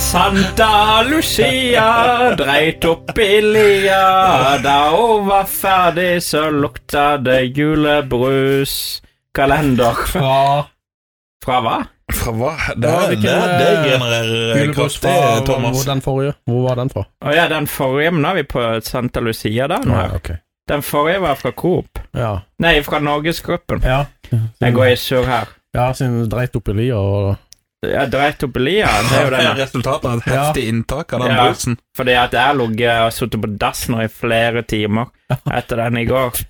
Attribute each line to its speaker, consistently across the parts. Speaker 1: Santa Lucia dreit opp i lia. Da hun var ferdig, så lukta det julebrus. Kalender
Speaker 2: Fra
Speaker 1: fra hva?
Speaker 3: Fra hva? Det,
Speaker 2: Ja,
Speaker 3: det,
Speaker 2: hvilken,
Speaker 3: det,
Speaker 2: eh,
Speaker 3: genererer
Speaker 2: Julebrus
Speaker 3: kraftig,
Speaker 2: fra
Speaker 3: Thomas.
Speaker 2: hvor den forrige. Hvor var den fra?
Speaker 1: Å ja, den forrige, men nå er vi på Santa Lucia, da. Nå.
Speaker 2: ok.
Speaker 1: Den forrige var fra Coop.
Speaker 2: Ja.
Speaker 1: Nei, fra Norgesgruppen.
Speaker 2: Ja.
Speaker 1: Jeg går i surr her.
Speaker 2: Ja, siden du dreit opp i lia og
Speaker 1: Jeg dreit opp i lia, det er jo
Speaker 3: Det er
Speaker 1: den.
Speaker 3: resultatet av et heftig inntak av den
Speaker 1: Ja.
Speaker 3: brusen.
Speaker 1: Fordi at jeg har ligget og sittet på dass nå i flere timer etter den i går.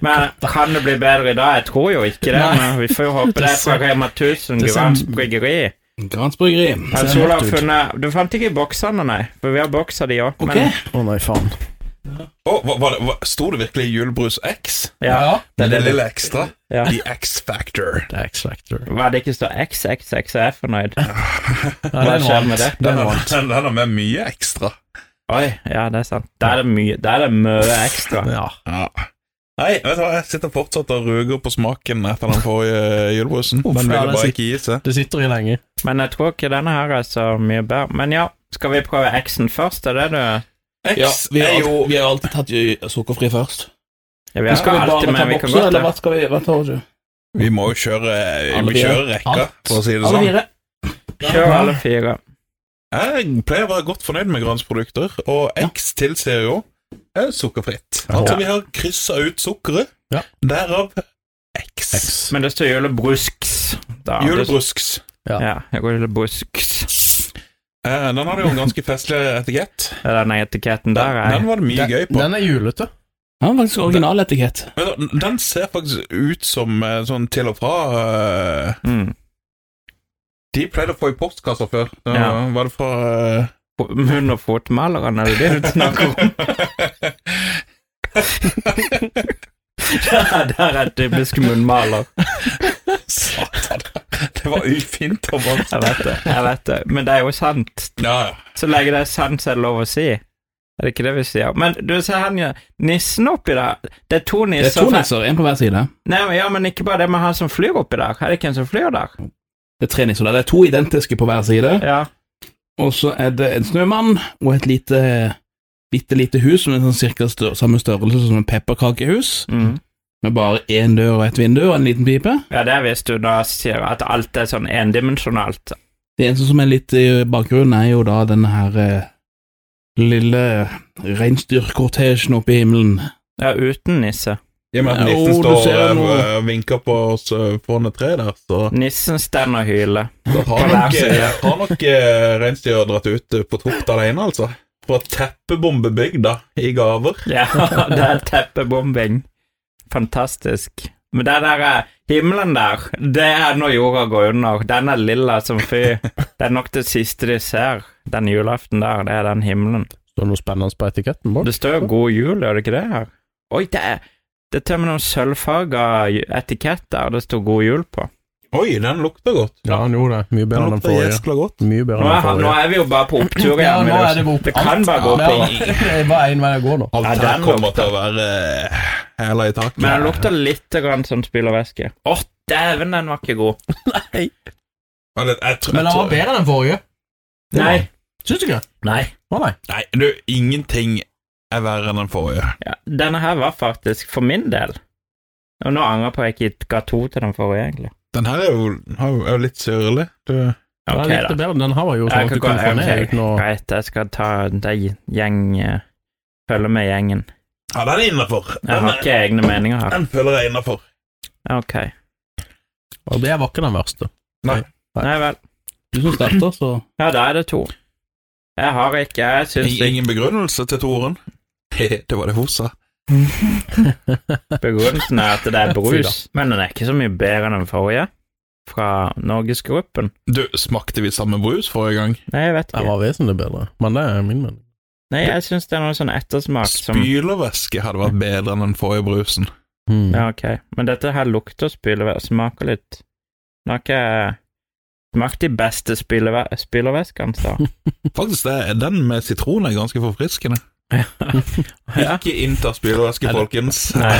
Speaker 1: Men kan det bli bedre i dag? Jeg tror jo ikke det,
Speaker 4: Nei.
Speaker 1: men vi får jo håpe det er fra Rema 1000
Speaker 4: Det sånn- ser-
Speaker 1: Grans Bryggeri.
Speaker 4: Grans bryggeri.
Speaker 1: Hans
Speaker 4: Ser
Speaker 1: Olav
Speaker 4: godt ut.
Speaker 1: funnet Du fant ikke boksene, nei? For vi har bokser, de òg.
Speaker 4: Ok.
Speaker 2: Å nei, faen.
Speaker 3: Å, hva- var det- hva- Sto det virkelig Julebrus X?
Speaker 1: ja,
Speaker 3: Det,
Speaker 1: det-
Speaker 3: lille ekstra?
Speaker 1: Ja.
Speaker 3: The X Factor.
Speaker 2: Det er X-Factor.
Speaker 1: Hva det ikke står XXX, er jeg fornøyd.
Speaker 2: Ja,
Speaker 1: Hva
Speaker 2: det er noe
Speaker 1: skjer med det?
Speaker 2: annet. Det er
Speaker 3: Den
Speaker 2: noe
Speaker 3: er,
Speaker 2: annet.
Speaker 3: den den er med mye ekstra.
Speaker 1: Oi, ja, det er sant. Da er det mye Da er det mye ekstra.
Speaker 2: Ja.
Speaker 3: Ja. Nei, vet du hva, jeg sitter fortsatt og ruger på smaken etter den forrige julebrusen.
Speaker 2: Uff,
Speaker 3: Den
Speaker 2: ja,
Speaker 3: ville
Speaker 2: den
Speaker 3: bare
Speaker 2: sit-
Speaker 3: ikke gi seg.
Speaker 2: Det sitter i lenge.
Speaker 1: Men jeg tror ikke denne her er så mye bedre. Men ja, skal vi prøve X-en først? Er det du
Speaker 4: Ja,
Speaker 3: X
Speaker 4: vi har,
Speaker 3: er
Speaker 4: alt-
Speaker 3: jo
Speaker 4: vi har alltid tatt ju- sukkerfri først.
Speaker 1: Ja, vi
Speaker 4: Men
Speaker 1: har
Speaker 4: skal vi bare
Speaker 1: alltid
Speaker 4: ta
Speaker 1: med, vi kan
Speaker 4: bokser,
Speaker 1: godt
Speaker 4: eller hva
Speaker 1: det.
Speaker 4: skal vi Hva tar du?
Speaker 3: Vi må jo kjøre
Speaker 4: Alle
Speaker 3: Vi
Speaker 4: fire.
Speaker 3: kjører rekka,
Speaker 4: Alt.
Speaker 3: for å si det
Speaker 4: Alle
Speaker 3: sånn.
Speaker 4: fire.
Speaker 1: Kjør alle fire.
Speaker 3: Jeg pleier å være godt fornøyd med Grans produkter, og X tilsier jo eh, sukkerfritt. Altså,
Speaker 2: Ja.
Speaker 3: vi har kryssa ut sukkeret,
Speaker 2: Ja.
Speaker 3: derav X.
Speaker 1: Men det står julebrusks. Da.
Speaker 3: Julebrusks.
Speaker 1: Ja, jeg går julebrusks.
Speaker 3: Eh, Den hadde jo en ganske festlig etikett.
Speaker 1: Det er den etiketten
Speaker 3: Den,
Speaker 1: der.
Speaker 3: den
Speaker 1: Jeg.
Speaker 3: var det mye
Speaker 2: Den-
Speaker 3: gøy på.
Speaker 2: Den er julete.
Speaker 4: Ja, faktisk original etikett.
Speaker 3: Vet du, Den ser faktisk ut som eh, sånn til og fra eh,
Speaker 1: Mm.
Speaker 3: De pleide å få i postkassa før. Da
Speaker 1: Ja.
Speaker 3: Var det fra eh,
Speaker 1: Munn- og fotmaleren, er det det du snakker om? der er typisk munnmaler.
Speaker 3: Satan, det var ufint, Thomas.
Speaker 1: Jeg vet det. jeg vet det. Men det er jo sant.
Speaker 3: Ja, ja.
Speaker 1: Så lenge det er sant, så er det lov å si. Er det ikke det vi sier? Men du ser han ja. nissen oppi der. Det er to
Speaker 4: Det
Speaker 1: nisser.
Speaker 4: er to nisser, én på hver side.
Speaker 1: Nei, men, ja, men ikke bare det med han som flyr oppi der. Er det ikke en som flyr der?
Speaker 4: Det er tre nisser der. Det er to identiske på hver side.
Speaker 1: Ja.
Speaker 4: Og så er det en snømann og et lite bitte lite hus som er sånn cirka stør, samme størrelse som et pepperkakehus.
Speaker 1: Mm.
Speaker 4: Med bare én dør og et vindu og en liten pipe.
Speaker 1: ja, det er visst du da sier at alt er sånn endimensjonalt.
Speaker 4: Det eneste som er litt i bakgrunnen, er jo da denne her eh, lille reinsdyrkortesjen oppe i himmelen.
Speaker 1: Ja, uten nisse.
Speaker 3: I og med at
Speaker 4: Ja,
Speaker 3: nissen
Speaker 4: å, du
Speaker 3: står
Speaker 4: ser
Speaker 3: og
Speaker 4: noe.
Speaker 3: eh, vinker på oss eh, foran et tre der, så
Speaker 1: Nissen stender og hyler.
Speaker 3: da har
Speaker 1: Kan
Speaker 3: nok,
Speaker 1: jeg si
Speaker 3: eh, har nok eh, reinsdyr dratt ut eh, på tokt alene, altså. For å teppebombe bygda i gaver.
Speaker 1: Ja, det er teppebombing. Fantastisk. Men den der eh, himmelen der, det er når jorda går under. Den er lilla som fy. Det er nok det siste de ser den julaften der, det er den himmelen.
Speaker 2: Står det noe spennende på etiketten? Bård?
Speaker 1: Det står jo 'God jul', gjør det ikke det her? Oi, det er det er til og med noen sølvfarga etikett der det står 'God jul' på.
Speaker 3: Oi, den lukter godt.
Speaker 2: Ja, han gjorde det. Mye bedre enn
Speaker 3: Den
Speaker 2: den
Speaker 3: lukter
Speaker 2: forrige.
Speaker 3: jæskla godt.
Speaker 2: Mye bedre
Speaker 1: Nå
Speaker 2: enn den
Speaker 1: er, nå
Speaker 2: forrige.
Speaker 1: er vi jo bare på opptur igjen. vil jeg si. det kan bare gå på.
Speaker 2: Det er bare én vei å gå nå.
Speaker 3: Alt
Speaker 1: Ja,
Speaker 3: her
Speaker 1: den
Speaker 3: kommer
Speaker 1: lukter.
Speaker 3: til å være eh, hæla i taket.
Speaker 1: Men den lukter litt grann som spylervæske. Å, dæven, den var ikke god.
Speaker 3: Ja, det- jeg tror-
Speaker 2: Men den var bedre enn den forrige. Det var
Speaker 1: Nei.
Speaker 2: Syns du ikke?
Speaker 1: Nei.
Speaker 2: Å nei.
Speaker 3: Nei, du, ingenting er verre enn den forrige.
Speaker 1: Ja, denne her var faktisk for min del. Og nå angrer jeg på at jeg ikke ga to til den forrige, egentlig.
Speaker 3: Den her er jo, har jo- er jo litt sørlig. Du
Speaker 2: Den
Speaker 1: Ok,
Speaker 2: er litt
Speaker 1: da.
Speaker 2: bedre. Den her var jo
Speaker 1: Jeg
Speaker 2: sånn at
Speaker 1: kan
Speaker 2: du kunne
Speaker 1: gå-
Speaker 2: få ned
Speaker 1: ok,
Speaker 2: uten å
Speaker 1: Greit, jeg skal ta de gjeng... eh, Følge med gjengen.
Speaker 3: Ja, den er innafor.
Speaker 1: Jeg har ikke egne meninger her.
Speaker 3: Den føler jeg innafor.
Speaker 1: Ok.
Speaker 2: Og det var ikke den verste.
Speaker 1: Nei vel.
Speaker 4: Du som starter, så
Speaker 1: Ja, da er det to. Jeg har ikke Jeg syns ikke
Speaker 3: Ingen begrunnelse til Toren. det var det hun sa.
Speaker 1: begrunnelsen er at det er brus, men den er ikke så mye bedre enn den forrige. Fra Norgesgruppen.
Speaker 3: Du, smakte vi samme brus forrige gang?
Speaker 1: Nei, jeg vet
Speaker 2: Den
Speaker 1: ikke.
Speaker 2: var vesentlig bedre, men det er min mening.
Speaker 1: Nei, jeg syns det er noe sånn ettersmak som
Speaker 3: Spylervæske hadde vært bedre enn den forrige brusen.
Speaker 2: Mm.
Speaker 1: Ja, ok. Men dette her lukter spylevæ- smaker litt Nå har ikke jeg smakt de beste spylevæ- spylervæskene, så.
Speaker 3: Faktisk, det er den med sitron er ganske forfriskende.
Speaker 1: Ja.
Speaker 3: Ikke innta spylervæske, folkens.
Speaker 1: Nei.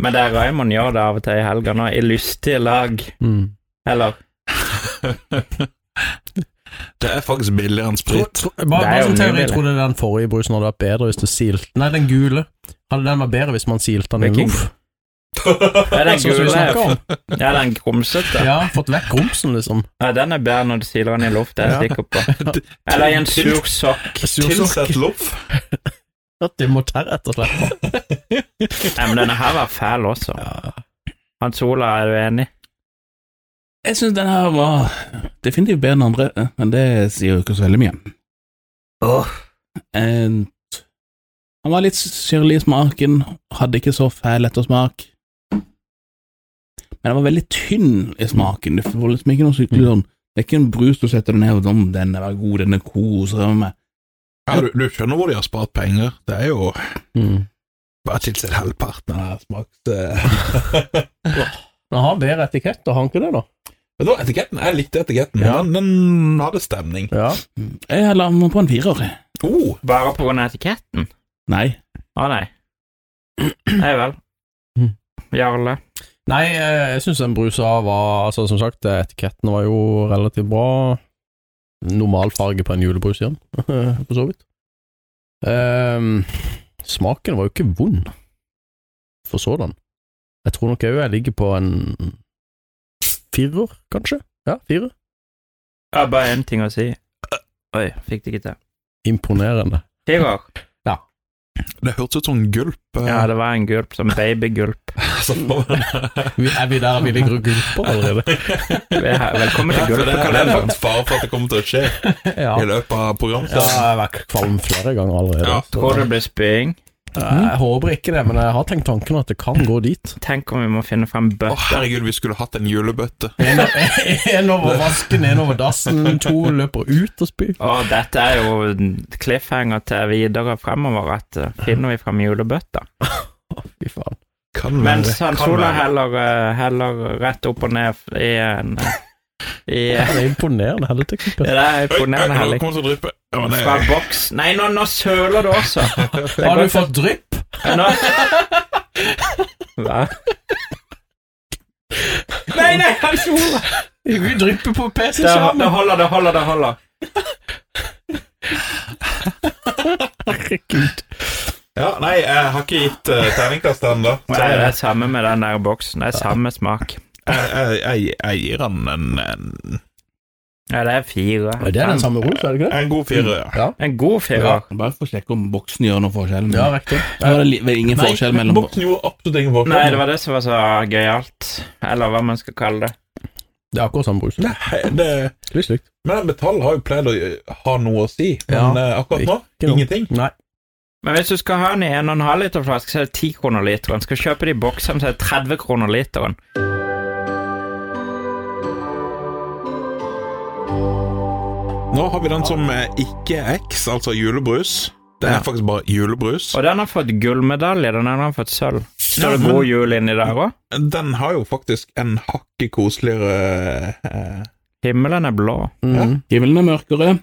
Speaker 1: Men det er Raymond gjør det av og til i Mm. helga nå, i lystige lag.
Speaker 2: Mm.
Speaker 1: Eller
Speaker 3: Det er faktisk billigere enn
Speaker 2: Tro,
Speaker 3: sprit.
Speaker 2: tro, bare,
Speaker 1: Det er
Speaker 2: bare
Speaker 1: jo
Speaker 2: som
Speaker 1: mye
Speaker 2: teori,
Speaker 1: bedre.
Speaker 2: tror du den forrige brusen hadde vært bedre hvis du silte Nei, den gule. Hadde den vært bedre hvis man silte den i
Speaker 1: Hvilken?
Speaker 2: loff?
Speaker 1: Det er
Speaker 2: Det er
Speaker 1: den
Speaker 2: sånn som vi
Speaker 1: gule.
Speaker 2: snakker om.
Speaker 1: Ja, den grumsete. Ja.
Speaker 2: Ja, fått vekk grumsen, liksom.
Speaker 1: den er bedre når du siler den i luft, det er jeg sikker på. Eller i en sur sokk.
Speaker 3: Tilsett loff.
Speaker 2: At de må terre, rett og slett.
Speaker 1: Nei, men denne her var fæl også. Hans Ola, er du enig?
Speaker 4: Jeg syns den her var definitivt bedre enn andre, eh, men det sier jo ikke så veldig mye. And, han var litt syrlig i smaken, hadde ikke så fæl ettersmak. Men den var veldig tynn i smaken. Det var liksom ikke noe
Speaker 2: Mm.
Speaker 4: skikkelig sånn Det er ikke en brus du setter deg ned og sånn, den er god, den er sånn. koser jeg meg med.
Speaker 3: Ja, du, du skjønner hvor de har spart penger. Det er jo
Speaker 2: Mm.
Speaker 3: bare tilsett halvparten av smakte
Speaker 2: Den har bedre etikett, og har den ikke det, da?
Speaker 3: Men da, etiketten, Jeg likte etiketten.
Speaker 2: Ja.
Speaker 3: Den, den hadde stemning.
Speaker 2: Ja.
Speaker 4: Jeg la meg på en firer. jeg.
Speaker 3: Oh,
Speaker 1: Bare på grunn av etiketten?
Speaker 4: Nei.
Speaker 1: Å nei. Nei vel.
Speaker 3: Mm.
Speaker 1: Jarle.
Speaker 2: Nei, eh, jeg syns den brusa var Altså, som sagt, eh, etiketten var jo relativt bra. Normalfarge på en julebrus igjen, for så vidt. Ehm, smaken var jo ikke vond, for sådan. Jeg tror nok òg jeg ligger på en firer, kanskje? Ja, fire.
Speaker 1: Jeg har bare én ting å si. Oi, fikk det ikke til.
Speaker 2: Imponerende.
Speaker 1: Firer.
Speaker 3: det hørtes ut som en gulp. eh,
Speaker 1: Ja, det var en gulp, som babygulp.
Speaker 3: som var-
Speaker 2: Vi, er vi der vi ligger og gulper allerede?
Speaker 1: Velkommen
Speaker 3: Ja,
Speaker 1: til
Speaker 3: for det, her- det er
Speaker 1: gulpekalenderen.
Speaker 3: faktisk fare for at det kommer til å skje
Speaker 2: ja.
Speaker 3: i løpet av programmet.
Speaker 2: ja, jeg har vært kvalm flere ganger allerede.
Speaker 3: Ja.
Speaker 2: Så-
Speaker 1: Tror det blir spying.
Speaker 2: Eh, jeg håper ikke det, men jeg har tenkt tanken at det kan gå dit.
Speaker 1: Tenk om vi må finne fram
Speaker 3: Å,
Speaker 1: bøtt.
Speaker 3: herregud, vi skulle hatt en julebøtte.
Speaker 2: En, en over vasken, en over dassen, to løper ut og spyr.
Speaker 1: Å, dette er jo en cliffhanger til videre fremover, at eh, finner vi fram julebøtta.
Speaker 2: Fy faen.
Speaker 3: Kan være.
Speaker 1: Mens han
Speaker 3: Mm. Kan
Speaker 1: Sola
Speaker 3: være.
Speaker 1: heller, eh, heller rett opp og ned i en eh, i,
Speaker 2: Det er imponerende helleteknikk.
Speaker 1: Det
Speaker 2: ass.
Speaker 1: er
Speaker 3: Oi, oi,
Speaker 1: imponerende,
Speaker 3: nå
Speaker 1: Hellig.
Speaker 3: kommer det til å dryppe. Ja, men det
Speaker 1: Fra
Speaker 3: er
Speaker 1: boks Nei, nå, nå søler du også. Det er
Speaker 2: Har du
Speaker 1: godt at-
Speaker 2: fått drypp?
Speaker 1: Nå... Hva? Nei, nei, Hans Ola!
Speaker 2: Vi drypper på
Speaker 1: Det, det
Speaker 2: PC-skjermen.
Speaker 1: holder, det holder, det holder.
Speaker 2: Herregud.
Speaker 3: Ja, nei, jeg har ikke gitt uh, terningkast ennå.
Speaker 1: Det er det samme med den der boksen. Det er samme smak.
Speaker 3: Jeg, jeg, jeg, jeg gir han en, en,
Speaker 1: Ja, det er fire.
Speaker 2: Det er den samme rosa, er det ikke det?
Speaker 3: en god firer, ja.
Speaker 1: En god
Speaker 2: Ja.
Speaker 1: firer.
Speaker 4: Bare for å sjekke om boksen gjør noen forskjell.
Speaker 2: Ja, riktig.
Speaker 4: Det var li- vel ingen forskjell mellom
Speaker 3: boksen gjorde absolutt ingen forskjell.
Speaker 1: Nei, det var det som var så gøyalt. Eller hva man skal kalle det.
Speaker 2: Det er akkurat samme sånn brus.
Speaker 3: Nei, det-
Speaker 2: Litt slikt.
Speaker 3: men metall har jo pleid å eh, ha noe å si,
Speaker 2: Ja.
Speaker 3: men eh, akkurat nå
Speaker 2: Ikke noe.
Speaker 3: ingenting.
Speaker 2: Nei.
Speaker 1: Men hvis du skal ha den i 1,5 liter flaske, så er det 10 kroner literen. Skal du kjøpe de boksene, så er det 30 kroner literen.
Speaker 3: Nå har vi den som eh, ikke er X, altså julebrus. Det er
Speaker 1: Ja.
Speaker 3: faktisk bare julebrus.
Speaker 1: Og den har fått gullmedalje. Den andre har fått sølv. Står
Speaker 3: Ja,
Speaker 1: det
Speaker 3: men-
Speaker 1: god jul inni der òg?
Speaker 3: Den har jo faktisk en hakket koseligere eh,
Speaker 1: Himmelen er blå.
Speaker 2: Mm.
Speaker 4: Himmelen er mørkere.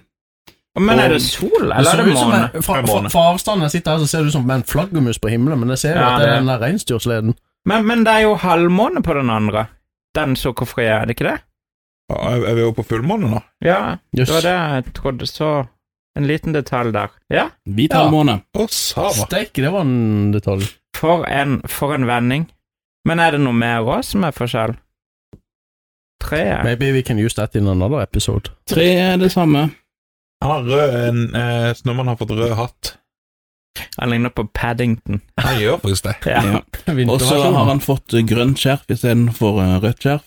Speaker 1: Men
Speaker 3: Og-
Speaker 1: er det sol,
Speaker 2: Det
Speaker 1: eller
Speaker 2: ser
Speaker 1: er det
Speaker 2: ut som en,
Speaker 1: måne?
Speaker 2: fra,
Speaker 3: Det er
Speaker 2: fra,
Speaker 3: måne.
Speaker 2: fra avstanden jeg sitter her, så ser det ut som en flaggermus på himmelen, men jeg ser jo
Speaker 1: Ja,
Speaker 2: at det
Speaker 1: det-
Speaker 2: er den der reinsdyrsleden.
Speaker 1: Men, men det er jo halvmåne på den andre. Den sukkerfrie, er det ikke det?
Speaker 3: ja, Er er vi jo på fullmåne nå?
Speaker 1: Ja,
Speaker 2: Jøss.
Speaker 1: det var det jeg trodde. Så en liten detalj der. Ja,
Speaker 4: Hvit
Speaker 2: Ja.
Speaker 4: halvmåne.
Speaker 3: Å, sava.
Speaker 2: Steike, det var en detalj.
Speaker 1: for en, for en vending. Men er det noe mer òg som er forskjell? Tre?
Speaker 2: Maybe we can use that in another episode.
Speaker 4: Tre er det samme.
Speaker 3: Han har rød en, eh, Snømann har fått rød hatt.
Speaker 1: Han ligner på Paddington.
Speaker 3: Han gjør faktisk det.
Speaker 1: Ja.
Speaker 4: Ja. Og så har han fått eh, grønt skjerf istedenfor eh, rødt skjerf.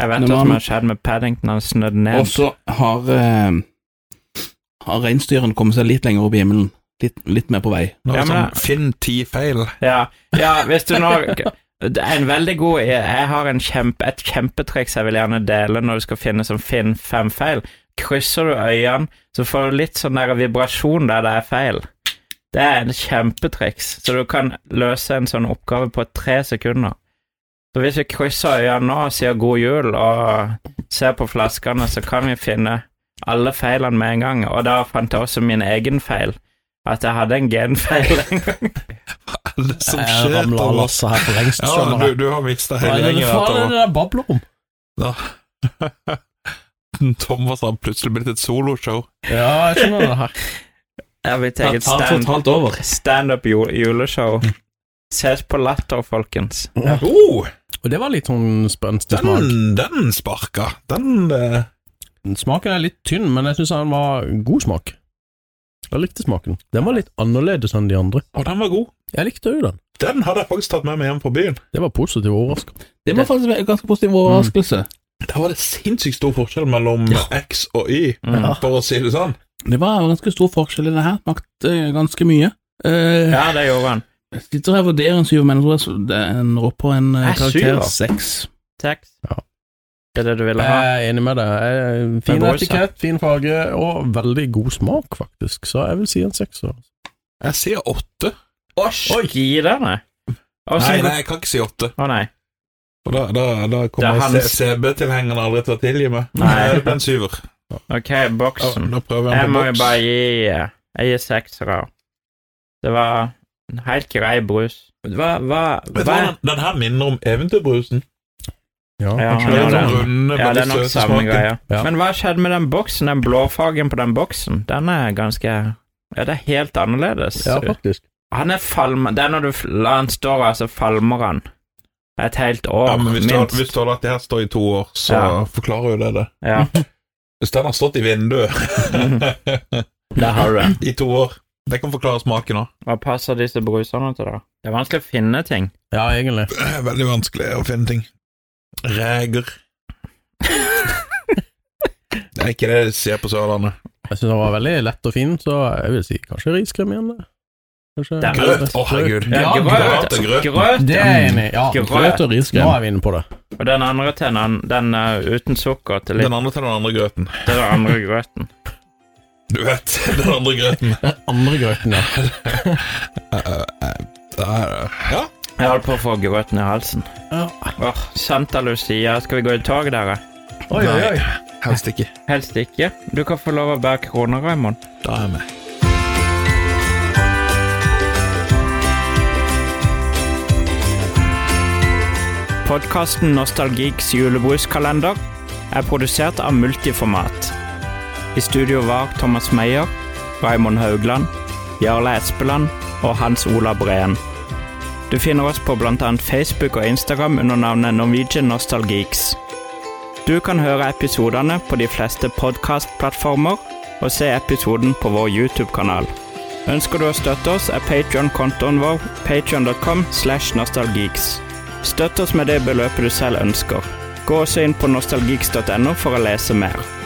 Speaker 1: Jeg vet
Speaker 4: Men
Speaker 1: hva
Speaker 4: han-
Speaker 1: som har skjedd med Paddington. Han snødde ned.
Speaker 4: Og så har eh, har reinsdyrene kommet seg litt lenger opp i himmelen. Litt, litt mer på vei.
Speaker 3: Nå er
Speaker 1: Ja,
Speaker 3: det
Speaker 1: men
Speaker 3: sånn Finn ti feil.
Speaker 1: Ja, ja hvis du nå det er en veldig god Jeg har en kjempe, et kjempetriks jeg vil gjerne dele når du skal finne som Finn fem feil. Krysser du øynene, så får du litt sånn der vibrasjon der det er feil. Det er en kjempetriks, så du kan løse en sånn oppgave på tre sekunder. Så hvis vi krysser øynene nå og sier god jul og ser på flaskene, så kan vi finne alle feilene med en gang. Og da fant jeg også min egen feil. At jeg hadde en genfeil en gang.
Speaker 3: Hva er det som
Speaker 2: Jeg
Speaker 3: skjer?
Speaker 2: ramla av
Speaker 3: Thomas?
Speaker 2: lasset her for lengst.
Speaker 3: Ja,
Speaker 2: skjønner
Speaker 3: du,
Speaker 2: jeg.
Speaker 3: du har mista
Speaker 2: Hva
Speaker 3: hele
Speaker 2: er det
Speaker 3: gjengen.
Speaker 2: faen er det
Speaker 3: Thomas.
Speaker 2: der babler om?
Speaker 3: Ja. Thomas har plutselig blitt et soloshow.
Speaker 2: Ja, jeg skjønner det her.
Speaker 1: Jeg vil ta
Speaker 4: Ta,
Speaker 1: eget
Speaker 4: ta
Speaker 1: stand-
Speaker 4: totalt over.
Speaker 1: standup jul- juleshow. Ses på Latter, folkens.
Speaker 3: Oh,
Speaker 2: Og det var litt sånn spenstig smak.
Speaker 3: den, den sparka. Den eh,
Speaker 2: Smaken er litt tynn, men jeg syns den var god smak. Jeg likte smaken. Den var litt annerledes enn de andre.
Speaker 3: Og den var god.
Speaker 2: Jeg likte jo den.
Speaker 3: Den hadde jeg faktisk tatt med meg hjem fra byen.
Speaker 2: Det var positiv overraskelse.
Speaker 4: Det var faktisk en ganske positiv overraskelse.
Speaker 3: Der var det sinnssykt stor forskjell mellom X og Y,
Speaker 1: Mm.
Speaker 3: for å si det sånn.
Speaker 4: Mm. Det var en ganske stor forskjell i det her. Smakte eh, ganske mye. Eh,
Speaker 1: Ja, det gjorde han.
Speaker 4: Jeg sitter her og vurderer en syver, men jeg tror jeg så- det er en rå på en eh,
Speaker 1: Er
Speaker 4: karakter
Speaker 1: syver?
Speaker 4: seks.
Speaker 1: Tekst.
Speaker 2: Ja.
Speaker 1: Det er det du ville ha?
Speaker 2: Jeg er enig med deg. Jeg-
Speaker 1: Men
Speaker 2: Fin
Speaker 1: Boris,
Speaker 2: etikett, fin farge og veldig god smak, faktisk. Så jeg vil si en sekser.
Speaker 3: Jeg sier åtte.
Speaker 1: Oi, gi deg ned.
Speaker 3: Nei, nei, jeg kan ikke si åtte.
Speaker 1: Å nei.
Speaker 3: Og da, da, da
Speaker 1: Det er
Speaker 3: kommer
Speaker 1: hans-
Speaker 3: CB-tilhengerne aldri til å tilgi meg.
Speaker 1: Nei.
Speaker 3: Det ble en syver.
Speaker 1: Ok,
Speaker 3: Ja,
Speaker 1: boksen.
Speaker 3: da prøver
Speaker 1: Jeg
Speaker 3: jeg
Speaker 1: må
Speaker 3: på
Speaker 1: jo
Speaker 3: boks.
Speaker 1: bare gi eh, Jeg gir seksere. Det var en helt grei brus. Hva, hva,
Speaker 3: Vet du
Speaker 1: hå
Speaker 3: hva, den, den her minner om eventyrbrusen.
Speaker 2: Ja,
Speaker 1: Ja, ja,
Speaker 3: Det er en sånn
Speaker 1: det.
Speaker 3: runde,
Speaker 1: Ja,
Speaker 3: med
Speaker 1: det
Speaker 3: litt
Speaker 1: er nok
Speaker 3: søte
Speaker 1: samme
Speaker 3: smaken.
Speaker 1: greia.
Speaker 2: Ja.
Speaker 1: Men hva skjedde med den boksen? Den blåfargen på den boksen, den er ganske Ja, det er helt annerledes.
Speaker 2: ja faktisk.
Speaker 1: Han er falmer... Det er når du f- lar han stå, og så falmer han. Et helt år,
Speaker 3: Ja, men hvis du, hadde, hvis
Speaker 1: minst.
Speaker 3: du hadde latt det her stå i to år, så
Speaker 1: Ja.
Speaker 3: forklarer jo det det.
Speaker 1: Ja.
Speaker 3: Hvis den har stått i vinduet
Speaker 1: Der har du det.
Speaker 3: i to år Det kan forklare smaken òg.
Speaker 1: Hva passer disse brusene til, da? Det er vanskelig å finne ting.
Speaker 2: Ja, egentlig.
Speaker 3: Veldig vanskelig å finne ting. Reger. Det er ikke det de ser på Sørlandet.
Speaker 2: Jeg syns den var veldig lett og fin, så jeg vil si kanskje riskrem igjen. det. Kanskje
Speaker 1: Den-
Speaker 3: Grøt! Å, herregud.
Speaker 1: Ja, grøt.
Speaker 3: grøt er grøt.
Speaker 1: Grøt,
Speaker 2: Det
Speaker 1: ja.
Speaker 2: er jeg enig i. Ja,
Speaker 1: Grøt.
Speaker 2: grøt og riskrem. Nå er vi inne på det.
Speaker 1: Og den andre tennen, den er uten sukker til litt
Speaker 3: Den andre til den andre grøten.
Speaker 1: til den andre grøten.
Speaker 3: Du vet, den andre grøten.
Speaker 2: Den andre grøten, ja.
Speaker 3: Der, ja.
Speaker 1: Jeg holdt på å få grøten i halsen.
Speaker 2: Ja.
Speaker 1: Åh, Santa Lucia, skal vi gå i tog, dere?
Speaker 2: Oi, oi, oi.
Speaker 3: Nei, helst ikke.
Speaker 1: Helst ikke. Du kan få lov å bære kroner, Raymond.
Speaker 3: Da er jeg med.
Speaker 1: Podkasten Nostalgiks julebruskalender er produsert av Multiformat. I studio var Thomas Meyer, Raymond Haugland, Jarle Espeland og Hans Ola Breen. Du finner oss på bl.a. Facebook og Instagram under navnet Norwegian Nostalgeeks. Du kan høre episodene på de fleste podkastplattformer og se episoden på vår YouTube-kanal. Ønsker du å støtte oss, er Patreon-kontoen vår patreon.com slash nostalgeeks. Støtt oss med det beløpet du selv ønsker. Gå også inn på nostalgeeks.no for å lese mer.